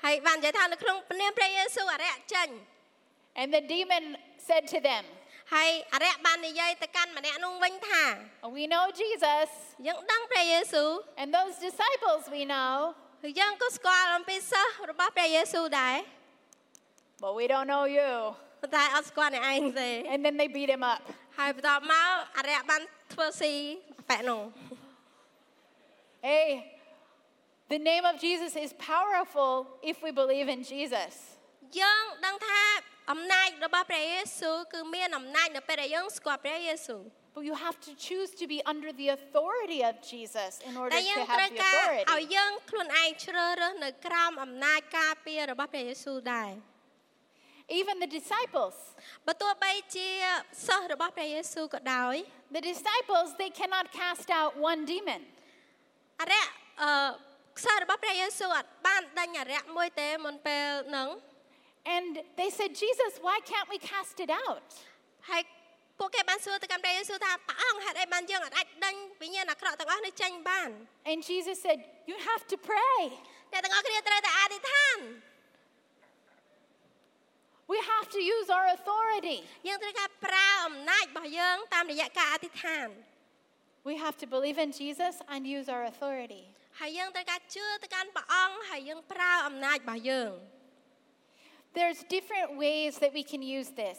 Speaker 2: ហើយបាននិយាយថានៅក្នុងព្រះនាមព្រះយេស៊ូវអារក្សចេញ
Speaker 1: And the demon said to them,
Speaker 2: ហើយអារក្សបាននិយាយទៅកាន់ម្នាក់នោះវិញថា
Speaker 1: We know Jesus,
Speaker 2: យើងដឹងព្រះយេស៊ូវ
Speaker 1: and those disciples we know,
Speaker 2: ហើយយើងក៏ស្គាល់អំពីសិស្សរបស់ព្រះយេស៊ូវដែរ
Speaker 1: but we don't know you.
Speaker 2: ប៉ុន្តែអត់ស្គាល់អ្នកឯងទេ
Speaker 1: And then they beat him up.
Speaker 2: ហើយបន្ទាប់មកអារក្សបានធ្វើស៊ីបែកនោះ
Speaker 1: Hey, the name of Jesus is powerful if we believe in Jesus.
Speaker 2: យើងដឹងថាអំណាចរបស់ព្រះយេស៊ូវគឺមានអំណាចនៅពេលដែលយើងស្គាល់ព្រះយេស៊ូវ
Speaker 1: But you have to choose to be under the authority of Jesus in order
Speaker 2: តែ
Speaker 1: to
Speaker 2: យើង
Speaker 1: have
Speaker 2: ត្រូវ
Speaker 1: the
Speaker 2: ការឲ្យ
Speaker 1: authority.
Speaker 2: យើងខ្លួនឯងជ្រើសរើសនៅក្រោមអំណាចការពាររបស់ព្រះយេស៊ូវដែរ
Speaker 1: Even the disciples,
Speaker 2: បើទោះបីជាសិស្សរបស់ព្រះយេស៊ូវក៏ដោយ
Speaker 1: the disciples, they cannot cast out one demon.
Speaker 2: អរិយអឺសិស្សរបស់ព្រះយេស៊ូវអត់បានដេញអរិយមួយទេមុនពេលហ្នឹង
Speaker 1: And they said, Jesus, why can't we cast it out?
Speaker 2: ហើយពួកគេបានសួរទៅកាន់ព្រះយេស៊ូវថាព្រះអង្គហេតុអីបានយើងអត់អាចដេញវិញ្ញាណអាក្រក់ទាំងអស់នេះចេញបាន
Speaker 1: And Jesus said, You have to pray.
Speaker 2: អ្នកទាំងអស់គ្នាត្រូវតែអធិដ្ឋាន
Speaker 1: We have to use our authority.
Speaker 2: យើងត្រូវការប្រើអំណាចរបស់យើងតាមរយៈការអធិដ្ឋាន
Speaker 1: We have to believe in Jesus and use our authority.
Speaker 2: ហើយយើងត្រូវការជឿទៅកាន់ព្រះអង្គហើយយើងប្រើអំណាចរបស់យើង
Speaker 1: There's different ways that we can use this.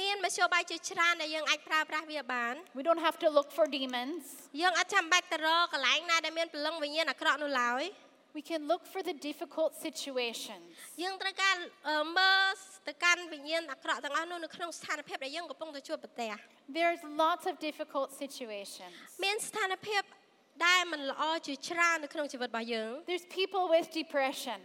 Speaker 2: មានមធ្យោបាយជាច្រើនដែលយើងអាចប្រើប្រាស់វាបាន
Speaker 1: We don't have to look for demons.
Speaker 2: យើងអត់ចាំបាច់ទៅរកកន្លែងណាដែលមានព្រលឹងវិញ្ញាណអាក្រក់នោះឡើយ
Speaker 1: We can look for the difficult situations.
Speaker 2: យើងត្រូវការអឺមើលទៅកាន់វិញ្ញាណអាក្រក់ទាំងអស់នោះនៅក្នុងស្ថានភាពដែលយើងកំពុងទៅជួបប្រទះ
Speaker 1: There's lots of difficult situations.
Speaker 2: មានស្ថានភាពដែលមិនល្អជាច្រើននៅក្នុងជីវិតរបស់យើង
Speaker 1: There's people with depression.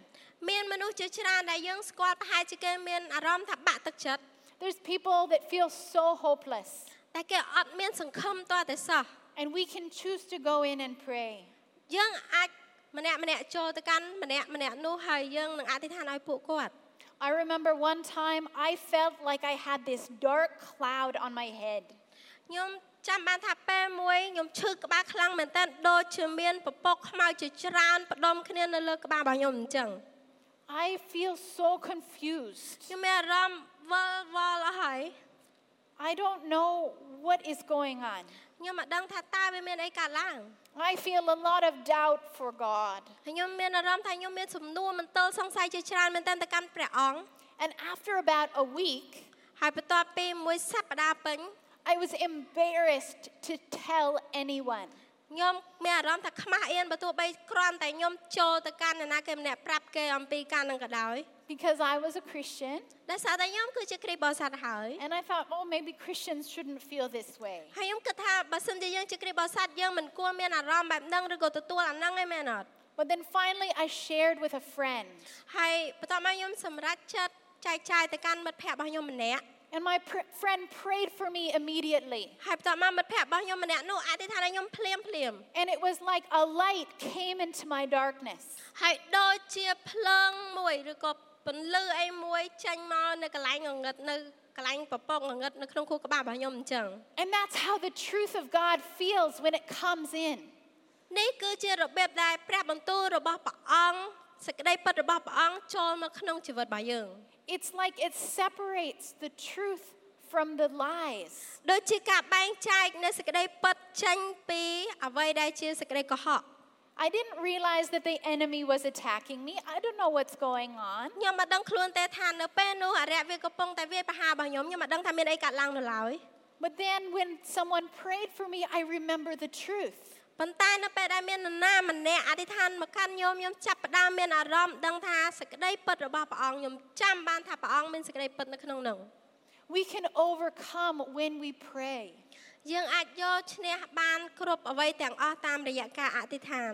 Speaker 2: មានមនុស្សជាច្រើនដែលយើងស្គាល់ប្រហែលជាគេមានអារម្មណ៍ថាបាក់ទឹកចិត្ត
Speaker 1: There's people that feel so hopeless.
Speaker 2: តែគេអត់មានសង្ឃឹមតតែសោះ
Speaker 1: And we can choose to go in and pray.
Speaker 2: យើងអាចម្នាក់ម្នាក់ចូលទៅកាន់ម្នាក់ម្នាក់នោះហើយយើងនឹងអធិដ្ឋានឲ្យពួកគាត់
Speaker 1: I remember one time I felt like I had this dark cloud on my head.
Speaker 2: ខ្ញុំចាំបានថាពេលមួយខ្ញុំឈឺក្បាលខ្លាំងមែនតើដូចជាមានពពកខ្មៅជាច្រើនផ្ដុំគ្នានៅលើក្បាលរបស់ខ្ញុំអញ្ចឹង
Speaker 1: I feel so confused.
Speaker 2: ខ្ញុំមានអារម្មណ៍វល់វល់អស់ហើយ
Speaker 1: I don't know what is going on.
Speaker 2: ខ្ញុំមិនដឹងថាតើវាមានអីកើតឡើង
Speaker 1: I feel a lot of doubt for God.
Speaker 2: ហើយខ្ញុំមានអារម្មណ៍ថាខ្ញុំមានសំណួរមន្ទិលសង្ស័យជាច្រើនមែនតើទៅកាន់ព្រះអង្គ
Speaker 1: And after about a week,
Speaker 2: ហើយបន្ទាប់ពីមួយសប្តាហ៍ពេញ
Speaker 1: I was embarrassed to tell anyone.
Speaker 2: ញ ខ្ញុំមានអារម្មណ៍ថាខ្មាស់អៀនបើទោះបីគ្រាន់តែខ្ញុំចូលទៅកាន់នរណាគេម្នាក់ប្រាប់គេអំពីការនឹងក៏ដោយ
Speaker 1: because I was a Christian
Speaker 2: ដោយសារតែខ្ញុំគឺជាគ្រីស្ទបរិស័ទហើយ
Speaker 1: and I thought, oh, maybe Christians shouldn't feel this way.
Speaker 2: ហើយខ្ញុំគិតថាបើសិនជាយើងជាគ្រីស្ទបរិស័ទយើងមិនគួរមានអារម្មណ៍បែបហ្នឹងឬក៏ទទួលអាហ្នឹងឯងមែនអត់
Speaker 1: But then finally, I shared with a friend,
Speaker 2: ហើយបន្ទាប់មកខ្ញុំសម្រេចចិត្តចែកចាយទៅកាន់មិត្តភ័ក្តិរបស់ខ្ញុំម្នាក់
Speaker 1: and my pr- friend prayed for me immediately.
Speaker 2: ហើយបន្ទាប់មកមិត្តភ័ក្តិរបស់ខ្ញុំម្នាក់នោះអធិដ្ឋានឲ្យខ្ញុំភ្លាមភ្លាម
Speaker 1: And it was like a light came into my darkness.
Speaker 2: ហើយដូចជាភ្លើងមួយឬក៏ពន្លឺអីមួយចេញមកនៅកន្លែងងងឹតនៅកន្លែងពពកងងឹតនៅក្នុងខួរក្បាលរបស់ខ្ញុំអញ្ចឹង
Speaker 1: And that's how the truth of God feels when it comes in.
Speaker 2: នេះគឺជារបៀបដែលព្រះបន្ទូលរបស់ព្រះអង្គសេចក្តីពិតរបស់ព្រះអង្គចូលមកក្នុងជីវិតរបស់យើង
Speaker 1: It's like it separates the truth from the lies.
Speaker 2: ដូចជាការបែងចែកនៅសេចក្តីពិតចេញពីអ្វីដែលជាសេចក្តីកុហក
Speaker 1: I didn't realize that the enemy was attacking me. I don't know what's going on.
Speaker 2: ខ្ញុំមិនដឹងខ្លួនទេថានៅពេលនោះអរិយវាកំពុងតែវាយប្រហាររបស់ខ្ញុំខ្ញុំមិនដឹងថាមានអីកើតឡើងនៅឡើយ
Speaker 1: But then when someone prayed for me, I remember the truth.
Speaker 2: ប៉ុន្តែនៅពេលដែលមាននរណាម្នាក់អធិដ្ឋានមកកាន់ខ្ញុំខ្ញុំចាប់ផ្ដើមមានអារម្មណ៍ដឹងថាសេចក្តីពិតរបស់ព្រះអង្គខ្ញុំចាំបានថាព្រះអង្គមានសេចក្តីពិតនៅក្នុងនោះ
Speaker 1: We can overcome when we pray.
Speaker 2: យើងអាចយកឈ្នះបានគ្រប់អ្វីទាំងអស់តាមរយៈការអធិដ្ឋាន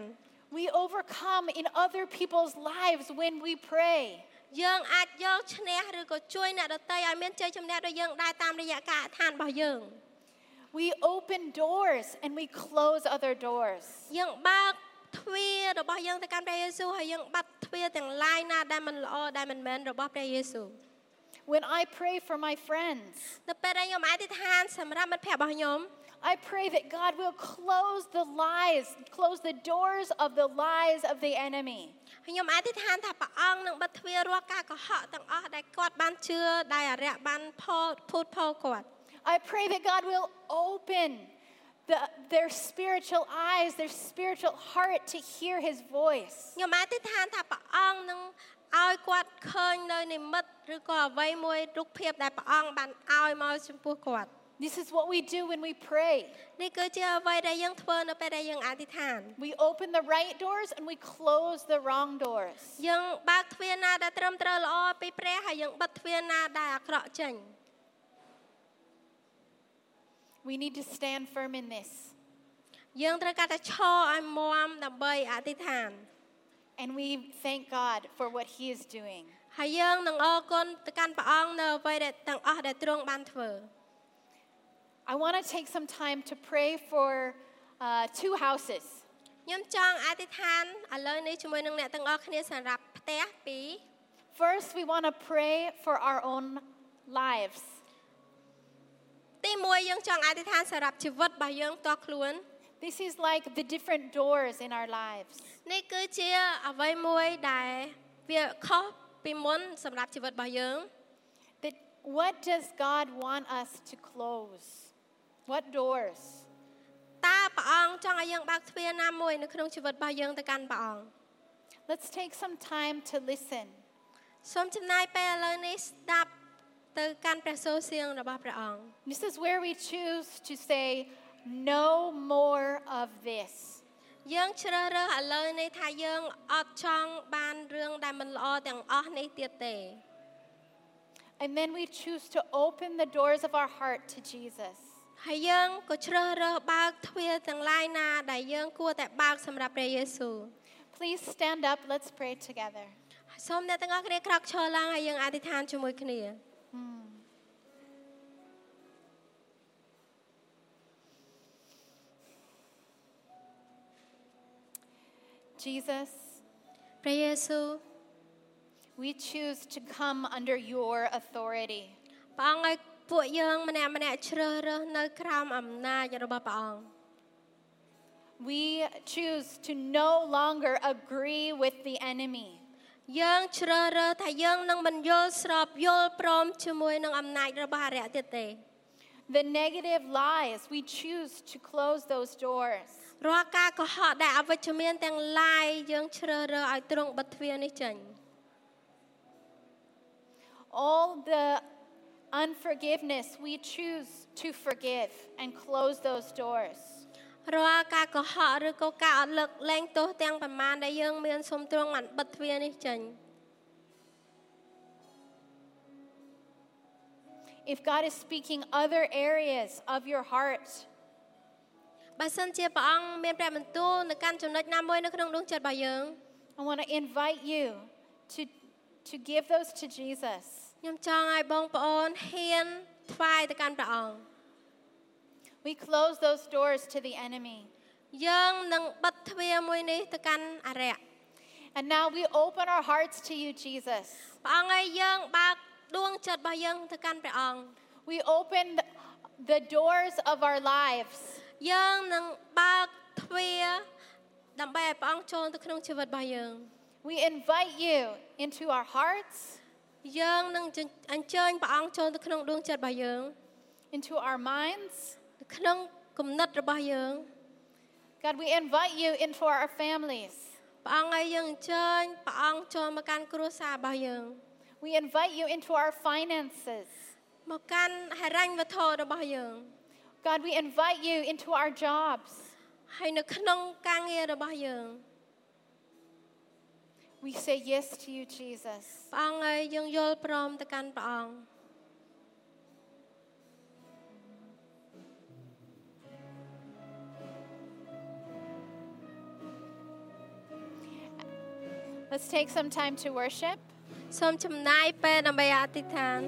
Speaker 1: We overcome in other people's lives when we pray.
Speaker 2: យើងអាចយកឈ្នះឬក៏ជួយអ្នកដទៃឲ្យមានជ័យជំនះដោយយើងដែរតាមរយៈការអធិដ្ឋានរបស់យើង
Speaker 1: We open doors and we close other doors.
Speaker 2: យើងបើកទ្វាររបស់យើងទៅកាន់ព្រះយេស៊ូវហើយយើងបាត់ទ្វារទាំងឡាយណាដែលមិនល្អដែលមិនមែនរបស់ព្រះយេស៊ូវ
Speaker 1: When I pray for my friends,
Speaker 2: នៅពេលដែលខ្ញុំអធិដ្ឋានសម្រាប់មិត្តភ័ក្តិរបស់ខ្ញុំ
Speaker 1: I pray that God will close the lies, close the doors of the lies of the enemy.
Speaker 2: ហើយខ្ញុំអធិដ្ឋានថាព្រះអង្គនឹងបិទទ្វាររាល់ការកុហកទាំងអស់ដែលគាត់បានជឿដែលអរិយបានផលភូតផលគាត់
Speaker 1: I pray that God will open the, their spiritual eyes, their spiritual heart to hear his voice.
Speaker 2: ខ្ញុំអធិដ្ឋានថាព្រះអង្គនឹងឲ្យគាត់ឃើញនៅនិមិត្តឬក៏អ្វីមួយរូបភាពដែលព្រះអង្គបានឲ្យមកចំពោះគាត់
Speaker 1: This is what we do when we pray.
Speaker 2: នេះគឺជាអ្វីដែលយើងធ្វើនៅពេលដែលយើងអធិដ្ឋាន
Speaker 1: We open the right doors and we close the wrong doors.
Speaker 2: យើងបើកទ្វារណាដែលត្រឹមត្រូវល្អពីព្រះហើយយើងបិទទ្វារណាដែលអាក្រក់ចេញ
Speaker 1: We need to stand firm in this.
Speaker 2: យើងត្រូវការតែឈរឲ្យមាំដើម្បីអធិដ្ឋាន
Speaker 1: And we thank God for what he is doing.
Speaker 2: ហើយយើងនឹងអរគុណទៅកាន់ព្រះអង្គនៅអ្វីដែលទាំងអស់ដែលទ្រង់បានធ្វើ
Speaker 1: I want to take some time to pray for uh, two houses.
Speaker 2: ខ្ញុំចង់អធិដ្ឋានឥឡូវនេះជាមួយនឹងអ្នកទាំងអស់គ្នាសម្រាប់ផ្ទះពីរ
Speaker 1: First, we want to pray for our own lives.
Speaker 2: ទីមួយយើងចង់អធិដ្ឋានសម្រាប់ជីវិតរបស់យើងផ្ទាល់ខ្លួន
Speaker 1: This is like the different doors in our lives.
Speaker 2: នេះគឺជាអ្វីមួយដែលវាខុសពីមុនសម្រាប់ជីវិតរបស់យើង
Speaker 1: That what does God want us to close? What doors?
Speaker 2: តើព្រះអង្គចង់ឲ្យយើងបើកទ្វារណាមួយនៅក្នុងជីវិតរបស់យើងទៅកាន់ព្រះអង្គ
Speaker 1: Let's take some time to listen.
Speaker 2: សូមចំណាយពេលឥឡូវនេះស្ដាប់ទៅកាន់ព្រះសូរសៀងរបស់ព្រះអង្គ
Speaker 1: This is where we choose to say, no more of this.
Speaker 2: យើងជ្រើសរើសឥឡូវនេះថាយើងអត់ចង់បានរឿងដែលមិនល្អទាំងអស់នេះទៀតទេ
Speaker 1: And then we choose to open the doors of our heart to Jesus.
Speaker 2: ហើយយើងក៏ជ្រើសរើសបើកទ្វារទាំងឡាយណាដែលយើងគួរតែបើកសម្រាប់ព្រះយេស៊ូវ
Speaker 1: Please stand up. Let's pray together.
Speaker 2: សូមអ្នកទាំងអស់គ្នាក្រោកឈរឡើងហើយយើងអធិដ្ឋានជាមួយគ្នា
Speaker 1: Jesus,
Speaker 2: ព្រះយេស៊ូវ
Speaker 1: we choose to come under your authority.
Speaker 2: ព្រះអង្គឲ្យពួកយើងម្នាក់ម្នាក់ជ្រើសរើសនៅក្រោមអំណាចរបស់ព្រះអង្គ
Speaker 1: We choose to no longer agree with the enemy.
Speaker 2: យើងជ្រើសរើសថាយើងនឹងមិនយល់ស្របយល់ព្រមជាមួយនឹងអំណាចរបស់អរិយទៀតទេ
Speaker 1: The negative lies, we choose to close those doors.
Speaker 2: រាល់ការកុហកដែលអវិជ្ជមានទាំងឡាយយើងជ្រើសរើសឲ្យទ្រង់បិទទ្វារនេះចេញ
Speaker 1: All the unforgiveness, we choose to forgive and close those doors.
Speaker 2: រាល់ការកុហកឬក៏ការអត់លើកលែងទោសទាំងប្រមាណដែលយើងមានសូមទ្រង់បានបិទទ្វារនេះចេញ
Speaker 1: If God is speaking other areas of your heart,
Speaker 2: បើសិនជាព្រះអង្គមានព្រះបន្ទូលនៅកាន់ចំណុចណាមួយនៅក្នុងដួងចិត្តរបស់យើង
Speaker 1: I want to invite you to, to give those to Jesus.
Speaker 2: ខ្ញុំចង់ឲ្យបងប្អូនហ៊ានថ្វាយទៅកាន់ព្រះអង្គ
Speaker 1: We close those doors to the enemy.
Speaker 2: យើងនឹងបិទទ្វារមួយនេះទៅកាន់អរិយ
Speaker 1: And now we open our hearts to you, Jesus.
Speaker 2: ព្រះអង្គឲ្យយើងបើកដួងចិត្តរបស់យើងទៅកាន់ព្រះអង្គ
Speaker 1: We open th- the doors of our lives.
Speaker 2: យើងនឹងបើកទ្វារដើម្បីឲ្យព្រះអង្គចូលទៅក្នុងជីវិតរបស់យើង
Speaker 1: We invite you into our hearts,
Speaker 2: យើងនឹងអញ្ជើញព្រះអង្គចូលទៅក្នុងដួងចិត្តរបស់យើង
Speaker 1: into our minds.
Speaker 2: ក្នុងគំនិតរបស់យើង
Speaker 1: God, we invite you into our families.
Speaker 2: ព្រះអង្គឲ្យយើងអញ្ជើញព្រះអង្គចូលមកកាន់គ្រួសាររបស់យើង
Speaker 1: We invite you into our finances.
Speaker 2: មកកាន់ហិរញ្ញវត្ថុរបស់យើង
Speaker 1: God, we invite you into our jobs.
Speaker 2: ហើយនៅក្នុងការងាររបស់យើង
Speaker 1: We say yes to you, Jesus.
Speaker 2: ព្រះអង្គឲ្យយើងយល់ព្រមទៅកាន់ព្រះអង្គ
Speaker 1: Let's take some time to worship.
Speaker 2: សូមចំណាយពេលដើម្បីអធិដ្ឋាន